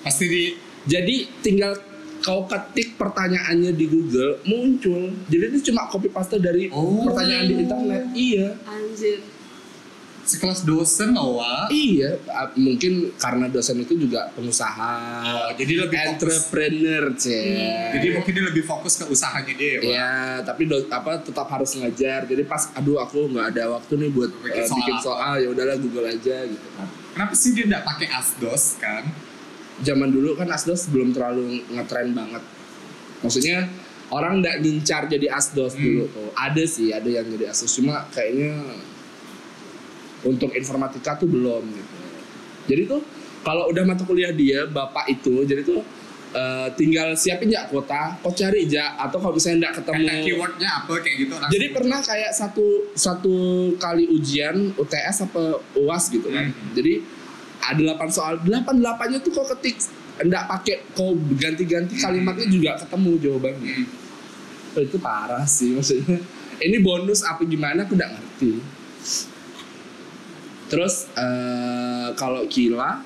pasti di Jadi tinggal kau ketik pertanyaannya di Google muncul. Jadi ini cuma copy paste dari Oh. pertanyaan di internet. Iya, Anjir. sekelas dosen loh Wak. iya. Ah, Mungkin karena dosen itu juga pengusaha. Oh, jadi lebih fokus. entrepreneur cek. jadi mungkin dia lebih fokus ke usahanya dia ya Wak. Iya, tapi do- apa tetap harus ngajar. Jadi pas aduh aku nggak ada waktu nih buat eh, Bikin bikin, soal. soal, ya udahlah Google aja gitu kan. kenapa sih dia nggak pakai asdos kan Zaman dulu kan Asdos belum terlalu ngetren banget. Maksudnya orang nggak ngincar jadi asdos dulu tuh. Ada sih, ada yang jadi asdos cuma kayaknya untuk informatika tuh belum gitu. Jadi tuh kalau udah mata kuliah dia bapak itu jadi tuh eh, tinggal siapin ya kuota, kau cari aja atau kalau misalnya nggak ketemu Karena keywordnya apa kayak gitu langsung. jadi pernah kayak satu satu kali ujian UTS apa UAS gitu kan. Hmm. Jadi ada 8 soal, 8 delapannya tuh kok ketik enggak pakai kau ganti-ganti kalimatnya juga ketemu jawabannya. Hmm. Oh, itu parah sih maksudnya. Ini bonus apa gimana aku nggak ngerti. Terus eh, kalau Kila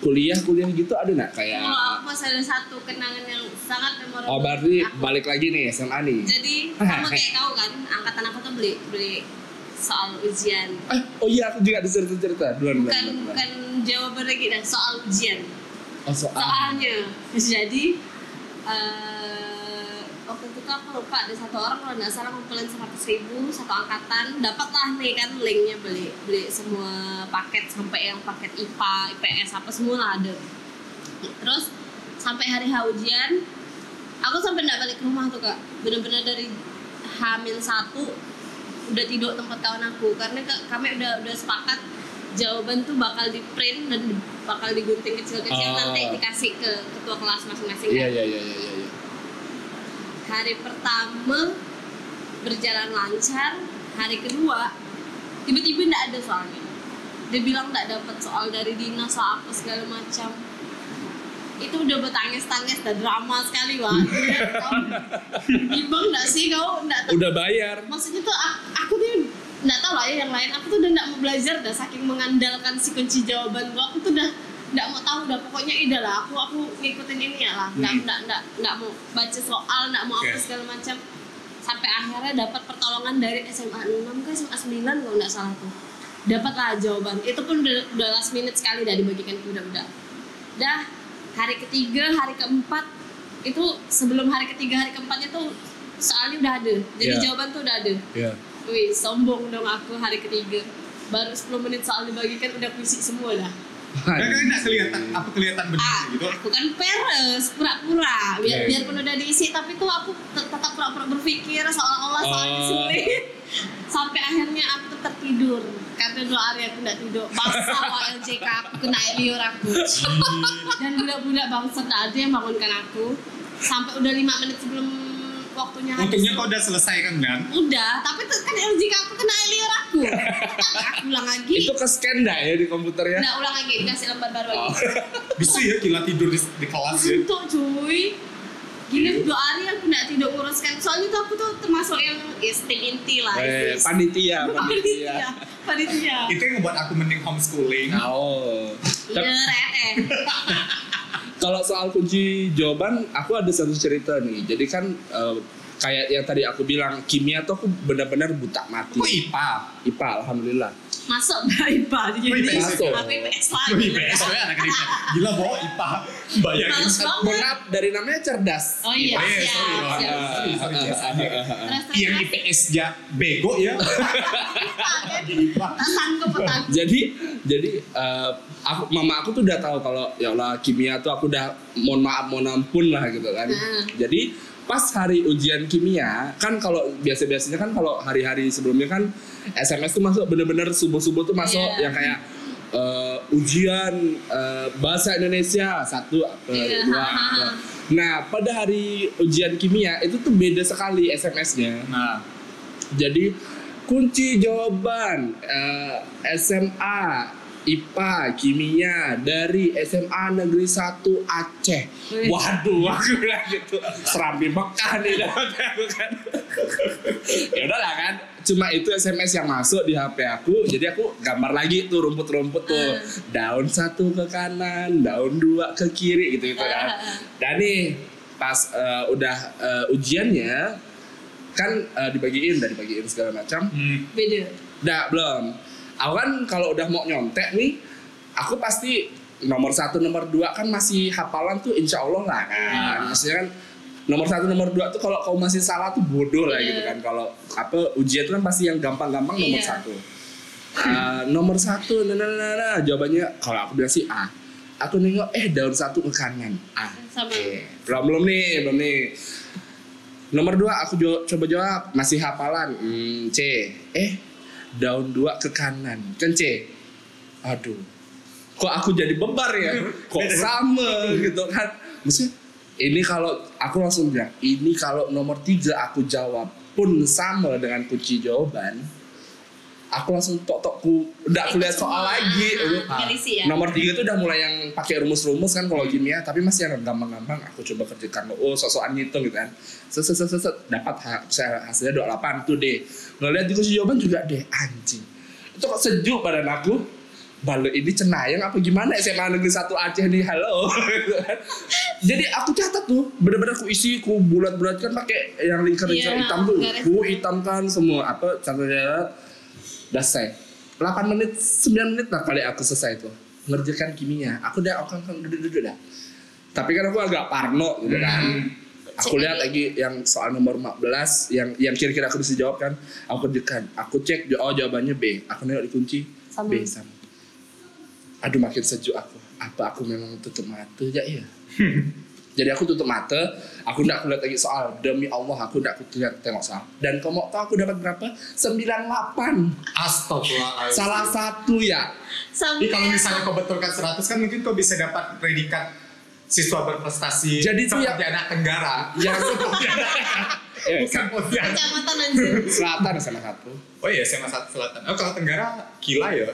kuliah-kuliah gitu ada nggak Ya. kayak Kalau aku masih ada satu kenangan yang sangat memorable. Oh berarti Aku- balik lagi nih SMA nih. Jadi sama kayak kau kan, angkatan aku tuh beli beli soal ujian. Eh, oh iya aku juga ada cerita-cerita Bukan duluan duluan, duluan. bukan jawaban lagi dah soal ujian. Oh, soal. Soalnya jadi eh waktu itu tuh aku lupa ada satu orang kalau nggak salah ngumpulin seratus ribu satu angkatan dapatlah nih kan linknya beli beli semua paket sampai yang paket IPA IPS apa semua lah ada terus sampai hari H ujian aku sampai nggak balik ke rumah tuh kak bener-bener dari hamil satu udah tidur tempat kawan aku karena ke- kami udah udah sepakat jawaban tuh bakal di print dan di- bakal digunting kecil-kecil Ah. nanti dikasih ke ketua kelas masing-masing Iya kan. iya iya iya iya. hari pertama berjalan lancar hari kedua tiba-tiba nggak ada soalnya dia bilang nggak dapat soal dari dinas soal apa segala macam itu udah bertangis-tangis dan drama sekali wah imbang nggak sih kau nggak tahu Udah bayar. maksudnya tuh aku, aku tuh nggak tahu lah ya yang lain aku tuh udah nggak mau belajar dah saking mengandalkan si kunci jawaban gua aku tuh udah nggak mau tahu dah pokoknya ida lah aku aku ngikutin ini ya lah nggak Hmm. nggak nggak nggak mau baca soal nggak mau apa Oke. segala macam sampai akhirnya dapat pertolongan dari SMA 6 ke SMA 9 kalau nggak salah tuh dapatlah jawaban itu pun udah, udah last minute sekali dah dibagikan ke budak-budak dah hari ketiga hari keempat itu sebelum hari ketiga hari keempatnya tuh soalnya udah ada jadi Iya. jawaban tuh udah ada Iya. wih sombong dong aku hari ketiga baru 10 menit soal dibagikan udah kuisi semua lah Dan kan nggak kelihatan apa kelihatan benar ah, gitu. aku kan peres pura-pura biar Iya, iya. biarpun udah diisi tapi tuh aku te- tetap pura-pura berpikir seolah-olah soalnya Oh. sulit sampai akhirnya aku tertidur karena doa hari aku nggak tidur bangsa OLJK aku kena elior aku dan budak-budak bangsa nggak ada yang bangunkan aku sampai udah lima menit sebelum waktunya habis Untungnya kau udah selesai kan kan? udah tapi tuh kan LJK aku kena elior aku aku ulang lagi Itu ke scan dah ya di komputernya. nggak ulang lagi dikasih lembar baru lagi Oh. Bisa ya gila tidur di, di kelas ya. Ngantuk cuy Gini Iya. dua hari aku gak tidur uruskan Soalnya tuh aku tuh termasuk yang ya, stay inti lah Eh, itu. panitia, Panitia panitia. Panitia Itu yang ngebuat aku mending homeschooling. Nah, Oh. Iya Tapi eh Kalau soal kunci jawaban, aku ada satu cerita nih. Jadi kan eh, kayak yang tadi aku bilang kimia tuh aku benar-benar buta Oh, iya. Aku mati. IPA. IPA alhamdulillah. Masuk dari Bali Oh, IPS. Masuk Aku IPS lagi Wih, IPS ya anak IPA. Gila bawa IPA. Bayangin. Males banget Benar dari namanya cerdas. Oh iya Oh, iya, siap, sorry, siap, Wak. siap. sorry, sorry, yes, yes. Ah, ah, ah, ah. Terus Yang terus IPS aja bego ya. terus Sanggup kan? petang jadi jadi eh, aku mama aku tuh udah tahu kalau ya Allah kimia tuh aku udah mohon maaf mohon ampun lah gitu kan Hmm. jadi pas hari ujian kimia kan kalau biasa biasanya kan kalau hari-hari sebelumnya kan sms tuh masuk bener-bener subuh subuh tuh masuk Iya. yang kayak eh, ujian eh, bahasa Indonesia satu apa Iya, ha, dua ha, ha. apa. nah pada hari ujian kimia itu tuh beda sekali sms-nya Nah, jadi kunci jawaban eh, SMA IPA kimia dari SMA Negeri 1 Aceh. Wih. Waduh, aku bilang gitu. Serambi Mekah nih dapat aku kan. ya udahlah kan. Cuma itu SMS yang masuk di HP aku. Jadi aku gambar lagi tuh rumput-rumput Ah. tuh. Daun satu ke kanan, daun dua ke kiri gitu-gitu Ah, ah, kan. ah. Dan nih pas eh, udah eh, ujiannya kan eh, dibagiin dan dibagiin segala macam. hmm. Beda Nggak, belum. Aku kan kalau udah mau nyontek nih, aku pasti nomor satu, nomor dua kan masih hafalan tuh insya Allah lah kan. Ah. Iya. Maksudnya kan nomor satu, nomor dua tuh kalau kau masih salah tuh bodoh lah Iya. gitu kan. Kalau apa ujian tuh kan pasti yang gampang-gampang nomor Iya. satu. Eh, nomor satu, nah, nah, nah, nah. jawabannya kalau aku bilang sih A. Aku nengok, eh daun satu ke kanan, A. Sama Oke, belum belum nih, belum nih. Nomor dua aku jo- coba jawab masih hafalan. Hmm, C. Eh daun dua ke kanan kan C. Aduh. Kok aku jadi bebar ya? Kok sama gitu kan? Maksudnya ini kalau aku langsung bilang ini kalau nomor tiga aku jawab pun sama dengan kunci jawaban. Aku langsung tok tokku udah aku lihat soal lagi. ah. Tinggal isi ya. Nomor tiga tuh udah mulai yang pakai rumus-rumus kan kalau kimia, tapi masih yang gampang-gampang aku coba kerjakan. Oh, sosokan ngitung gitu kan. Set, set, set, set, set. dapat ha- saya hasilnya 28 tuh deh. Ngeliat di kunci jawaban juga deh, anjing. Itu kok sejuk badan aku. Balu ini cenayang apa gimana SMA Negeri 1 Aceh nih, halo. Jadi aku catat tuh, bener-bener aku isi, ku bulat-bulatkan pakai yang lingkar-lingkar Iya, hitam tuh. garis. Ku hitamkan semua apa catat-catat udah selesai 8 menit 9 menit lah kali aku selesai tuh ngerjakan kimia aku kan, udah oke oke duduk duduk dah tapi kan aku agak parno gitu kan Hmm. aku Cek lihat lagi yang soal nomor 14 yang yang kira-kira aku bisa jawab kan aku kerjakan aku cek oh jawabannya B aku nengok di kunci Sama. B sama aduh makin sejuk aku apa aku memang tutup mata aja ya jadi aku tutup mata, aku nggak kulihat lagi soal. Demi Allah, aku nggak kulihat tengok soal. Dan kamu mau tahu aku dapat berapa? 98. Astagfirullahaladzim. Salah satu ya. Sampai Jadi kalau misalnya kau betulkan 100 kan mungkin kau bisa dapat predikat siswa berprestasi Jadi itu ya. seperti anak Tenggara. Yang Eh, Bukan Pontianak. kecamatan anjir. selatan salah satu. Oh iya, SMA Sat- Selatan. Oh kalau Tenggara gila ya,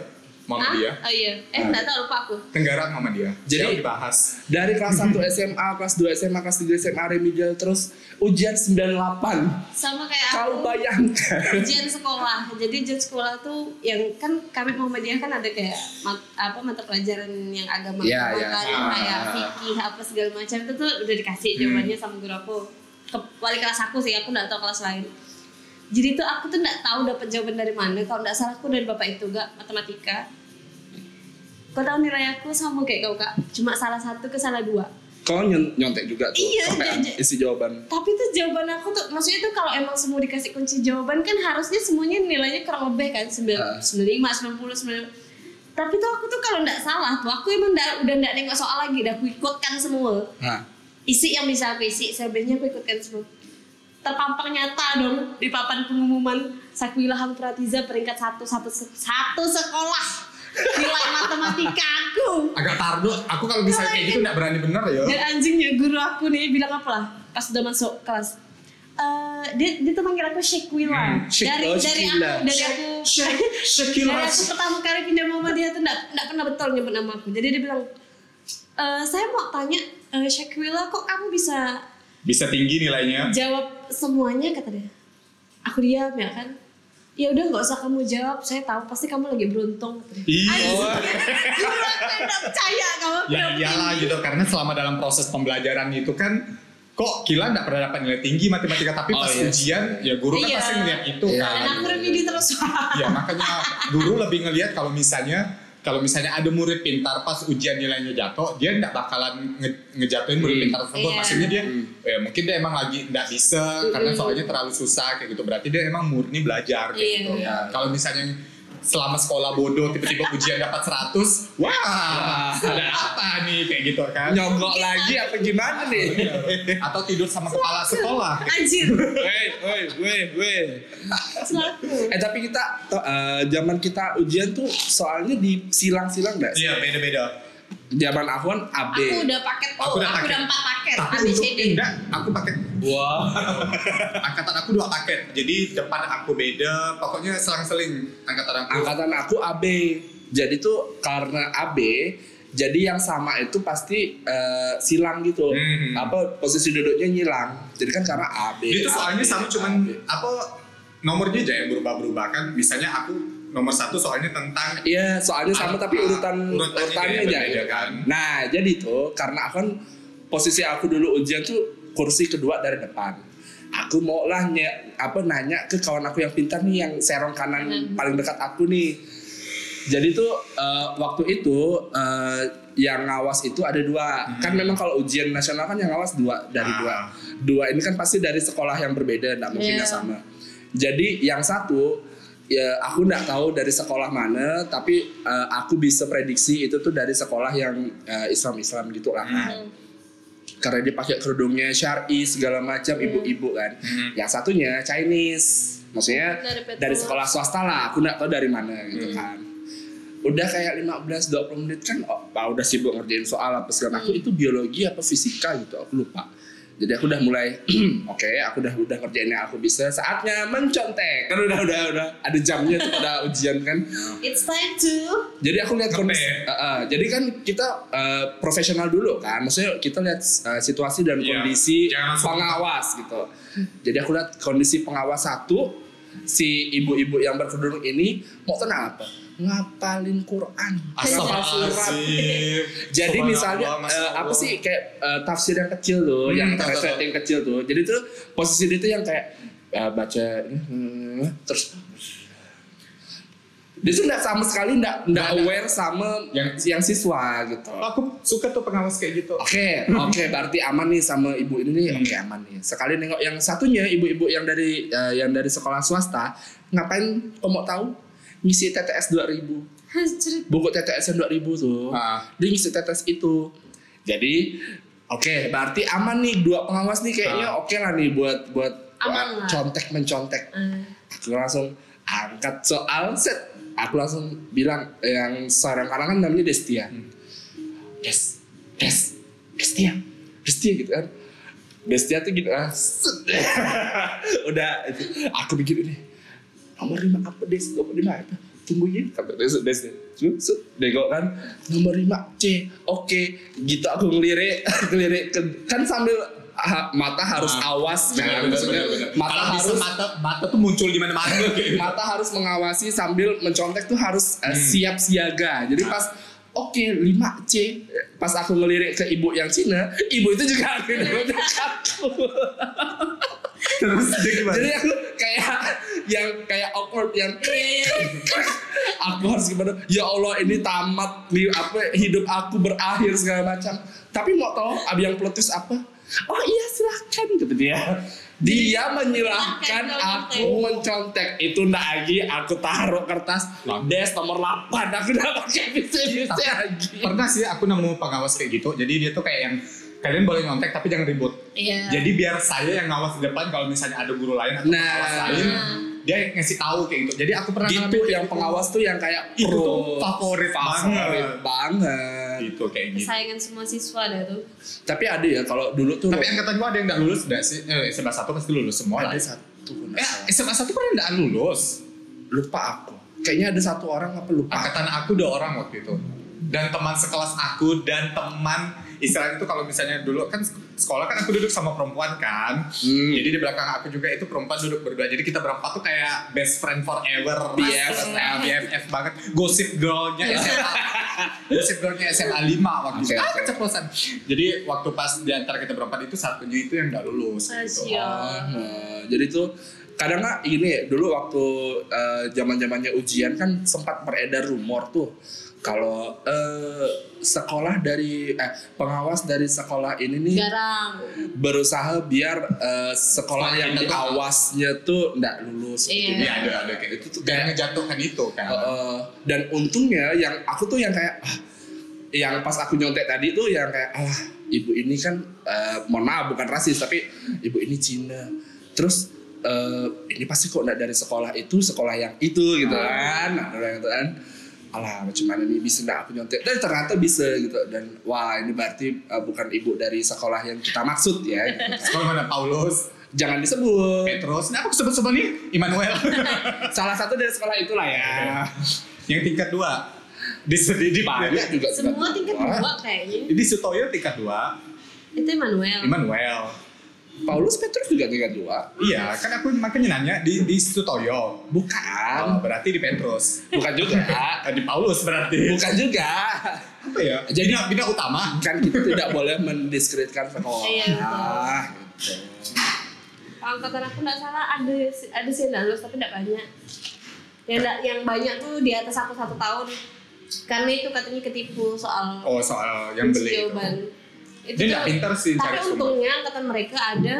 mama Hah? dia. Oh iya. Eh Ah. enggak tahu lupa aku. Tenggara mama dia. Jadi Jadi- dibahas. Dari kelas 1 SMA, kelas 2 SMA, kelas 3 SMA remedial terus ujian 98. Sama kayak aku. Kau bayangkan. ujian sekolah jadi ujian sekolah tuh yang kan kami Muhammadiyah kan ada kayak mat- apa mata pelajaran yang agama Iya, agama iya. kan, Ah. kayak fikih apa segala macam itu tuh udah dikasih Hmm. jawabannya sama guru aku ke wali kelas aku sih aku nggak tahu kelas lain jadi tuh aku tuh nggak tahu dapat jawaban dari mana kalau nggak salah aku dari bapak itu gak matematika kau tahu nilai aku sama kayak kau kak cuma salah satu ke salah dua Kau nyon- nyontek juga tuh Iya, sampai iya, iya. isi jawaban. tapi tuh jawaban aku tuh maksudnya tuh kalau emang semua dikasih kunci jawaban kan harusnya semuanya nilainya kurang lebih kan Ah. 9, 95 90 90 tapi tuh aku tuh kalau nggak salah tuh aku emang nggak- udah nggak nengok soal lagi udah aku ikutkan semua Nah, isi yang bisa aku isi selebihnya aku ikutkan semua terpampang nyata dong di papan pengumuman Sakwila Hampratiza peringkat satu satu se- satu sekolah nilai matematika aku Agak tardo, aku kalau bisa Kalau kayak ini- gitu nggak berani bener ya. dan anjingnya guru aku nih bilang apa lah pas udah masuk kelas. Eh dia, dia tuh manggil aku Shekwila. Hmm, Sheik- dari oh, dari aku Shekwila. dari aku dari aku pertama kali pindah mama dia tuh nggak nggak pernah betul nyebut nama aku. Jadi dia bilang "Eh, saya mau tanya eh, Shekwila kok kamu bisa Bisa tinggi nilainya. jawab semuanya kata dia. Aku diam ya kan. Ya udah nggak usah kamu jawab, saya tahu pasti kamu lagi beruntung. kata dia. Iya. Anjing, guru aku yang nggak percaya kamu. Ya beruntung. iyalah gitu karena selama dalam proses pembelajaran itu kan kok gila nggak pernah dapat nilai tinggi matematika tapi Oh, pas iya. ujian ya guru kan Iya. pasti ngeliat itu Iya. kan. Dan aku remedi terus. Ya makanya guru lebih ngelihat kalau misalnya kalau misalnya ada murid pintar pas ujian nilainya jatuh, dia nggak bakalan nge- ngejatuhin murid Hmm. pintar tersebut. Iya. Maksudnya dia, Hmm. ya mungkin dia emang lagi nggak bisa karena soalnya terlalu susah kayak gitu. Berarti dia emang murni belajar kayak Iya. gitu. Iya. Kalau misalnya selama sekolah bodoh tiba-tiba ujian dapat 100, wah, ada apa nih kayak gitu kan? nyogok Iya. lagi apa gimana nih? Atau tidur sama kepala sekolah. Anjir, Weh, weh, weh, weh. selaku. Eh tapi kita to- eh, zaman kita ujian tuh soalnya di silang-silang nggak? sih? Iya beda-beda. Zaman aku kan AB. Aku udah paket O, Aku aku udah udah, paket. empat paket Tapi untuk ABCD. pindah, aku pakai Wah. angkatan aku dua paket jadi depan aku beda pokoknya selang-seling angkatan aku Angkatan aku AB. Jadi tuh karena AB jadi yang sama itu pasti eh, silang gitu. Hmm. Apa posisi duduknya nyilang. Jadi kan karena AB. itu soalnya AB, sama cuman AB. apa nomornya aja yang berubah-berubah kan misalnya aku nomor satu soalnya tentang Iya, soalnya sama tapi urutan Ah, Urutannya urutannya kayak aja. berbeda kan. Nah, jadi tuh karena aku kan posisi aku dulu ujian tuh kursi kedua dari depan. Aku mau lah nye- apa nanya ke kawan aku yang pintar nih yang serong Hmm. kanan Kanan. paling dekat aku nih. Jadi tuh eh, waktu itu eh, yang ngawas itu ada dua. Kan memang kalau ujian nasional kan yang ngawas dua dari Hmm. Ah. dua. Dua ini kan pasti dari sekolah yang berbeda, nggak mungkin Iya. yang sama. Jadi yang satu ya aku nggak tahu dari sekolah mana, tapi eh, aku bisa prediksi itu tuh dari sekolah yang eh, Islam-Islam gitu lah. Hmm. karena dia pakai kerudungnya syar'i segala macam ibu-ibu kan Hmm. yang satunya Chinese maksudnya Dari dari, Petronas. sekolah swasta lah aku nggak tahu dari mana gitu Hmm. kan udah kayak 15-20 menit kan oh, ah, udah sibuk ngerjain soal apa segala Hmm. aku itu biologi apa fisika gitu aku lupa jadi aku udah mulai oke aku udah udah ngerjain yang aku bisa saatnya mencontek kan udah udah udah ada jamnya tuh pada ujian kan It's time to jadi aku lihat kondisi. Ngepe. Uh, uh, jadi kan kita uh, profesional dulu kan. Maksudnya kita lihat uh, situasi dan Iya, kondisi jangan langsung- pengawas gitu. Jadi aku lihat kondisi pengawas satu si ibu-ibu yang berkerudung ini mau kenapa? Ngapalin Quran. Ngapal surat. Astagfirullahaladzim. Jadi Subhanallah, misalnya Masya eh, apa Allah. sih kayak eh, tafsir yang kecil tuh, Hmm, yang tahu, tahu, translate tahu. yang kecil tuh. Jadi tuh posisi dia tuh yang kayak eh, baca ini, hmm, terus dia tuh nggak sama sekali nggak nggak aware sama yang Yang- yang siswa gitu. Aku suka tuh pengawas kayak gitu. Oke, oke, berarti aman nih sama ibu ini Hmm. nih. Oke, aman nih. Sekali nengok yang satunya ibu-ibu yang dari eh, yang dari sekolah swasta, ngapain kok mau tahu? Ngisi TTS 2000. Buku TTS yang 2000 tuh Ah, dia ngisi tetes itu jadi oke berarti aman nih dua pengawas nih kayaknya oke lah nih buat buat Aman buat lah. contek mencontek Ah, aku langsung angkat soal set aku langsung bilang yang seorang kanan kan namanya Destia Des Des Destia Destia gitu kan Destia tuh gitu ah, set. udah itu. aku begini nih nomor lima apa des nomor lima apa tungguin kata des des des dego kan nomor lima c oke gitu aku ngelirik ngelirik ke- kan sambil ah, mata harus Ah. awas benar, benar, kan maksudnya benar, benar. mata Kalau bisa harus mata mata tuh muncul di mana-mana gitu. mata harus mengawasi sambil mencontek tuh harus eh, siap siaga jadi pas oke 5 c pas aku ngelirik ke ibu yang Cina ibu itu juga ngelirik aku Terus dia gimana? jadi aku kayak yang kayak awkward yang aku harus gimana ya Allah ini tamat nih apa hidup aku berakhir segala macam tapi mau tahu abi yang peletus apa oh iya silahkan gitu dia dia menyilahkan aku mencontek itu ndak lagi aku taruh kertas des nomor 8 aku udah pakai bisa-bisa lagi Pernah sih aku nemu pengawas kayak gitu. Jadi dia tuh kayak yang kalian boleh nyontek tapi jangan ribut. Iya. Jadi biar saya yang ngawas di depan kalau misalnya ada guru lain atau Nah. pengawas lain, dia ngasih tahu kayak gitu. Jadi aku pernah gitu ngalamin yang pengawas tuh yang kayak Itu pro. tuh favorit favorit banget. banget gitu kayak gitu. kesayangan semua siswa dah tuh. tapi ada ya kalau dulu tuh Tapi angkatan gua ada yang nggak lulus nggak sih? Eh, SMA satu pasti lulus semua lah. ada Eh, satu Ya, kalau nggak anu salah. SMA satu pernah nggak lulus. lupa aku kayaknya ada satu orang apa lupa Angkatan aku dua orang waktu itu. Dan teman sekelas aku dan teman istilahnya itu kalau misalnya dulu kan sekolah kan aku duduk sama perempuan kan. Hmm. Jadi di belakang aku juga itu perempuan duduk berdua. Jadi kita berempat tuh kayak best friend forever. BFF. Nah, BFF banget. Gosip girlnya SMA. Gosip girlnya SMA 5 waktu itu. Oke, Ah, oke. keceplosan. Jadi waktu pas di antara kita berempat itu satunya itu yang nggak lulus. Gitu. Ah, jadi tuh kadang nggak ini ya, dulu waktu zaman zamannya ujian kan sempat beredar rumor tuh kalau eh, sekolah dari eh pengawas dari sekolah ini nih Iya. Jarang. berusaha biar eh, Sekolah sekolah yang kita tuh- diawasnya tuh nggak lulus gitu. Iya. Iya ada ada kayak itu tuh kayak ngejatuhkan itu kan. Heeh. dan untungnya yang aku tuh yang kayak ah, yang pas aku nyontek tadi tuh yang kayak alah ibu ini kan eh, mohon maaf bukan rasis tapi ibu ini Cina terus eh, ini pasti kok nggak dari sekolah itu sekolah yang itu gitu Ah. kan nah, udah gitu kan alah macam mana nih bisa nggak aku nyontek dan ternyata bisa gitu dan wah ini berarti eh, bukan ibu dari sekolah yang kita maksud ya gitu kan. Sekolah mana Paulus, jangan disebut Petrus, nah aku sebut-sebut nih Immanuel. salah satu dari sekolah itulah ya yang tingkat dua di di di, banyak juga Iya. Semua tingkat Wah. dua kayaknya. di Sutoyo tingkat dua Itu Emmanuel. Immanuel. Paulus Petrus juga tingkat dua. Iya, kan aku makanya nanya di di Sutoyo. Oh, Bukan, berarti di Petrus. bukan juga, Ah, Di Paulus berarti. bukan juga. Apa ya? Jadi Jadi- bina, bina utama. Kan kita tidak boleh mendiskreditkan sekolah. Iya, gitu. Angkatan aku nggak salah ada ada sih yang nggak lulus tapi nggak banyak. Yang nggak- yang banyak tuh di atas aku satu tahun. Karena itu katanya ketipu soal Oh, soal yang kunci beli itu. jawaban. Itu Dia nggak tuh- pintar sih Tapi cari sumber. untungnya angkatan mereka ada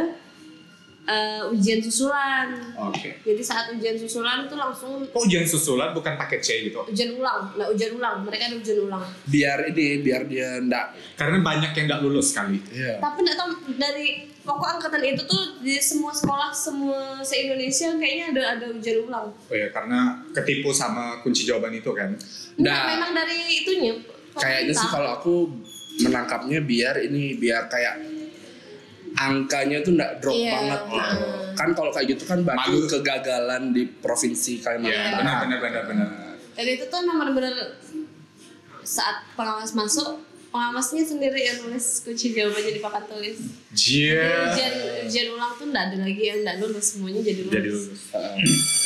eh, ujian susulan. Oke. Jadi saat ujian susulan tuh langsung Kok ujian susulan bukan paket C gitu? ujian ulang, nggak ujian ulang, mereka ada ujian ulang. biar ini biar dia ndak Karena banyak yang nggak lulus kali. Iya. Tapi nggak tahu dari pokok angkatan itu tuh di semua sekolah semua se Indonesia kayaknya ada ada ujian ulang. Oh ya, karena ketipu sama kunci jawaban itu kan. Enggak, Nah. memang dari itunya. kayaknya sih pemerintah. kalau aku menangkapnya biar ini biar kayak angkanya tuh nggak drop Iya, banget gitu. heeh. Kan kalau kayak gitu kan batu Malu. kegagalan di provinsi Kalimantan Iya, Barat. benar benar benar benar. Dan itu tuh emang bener-bener saat pengawas masuk pengawasnya sendiri yang nulis kunci jawabannya di papan tulis. Jia. Ujian ujian ulang tuh nggak ada lagi yang nggak ya, lulus semuanya jadi lulus. Jadi lulus. Heeh.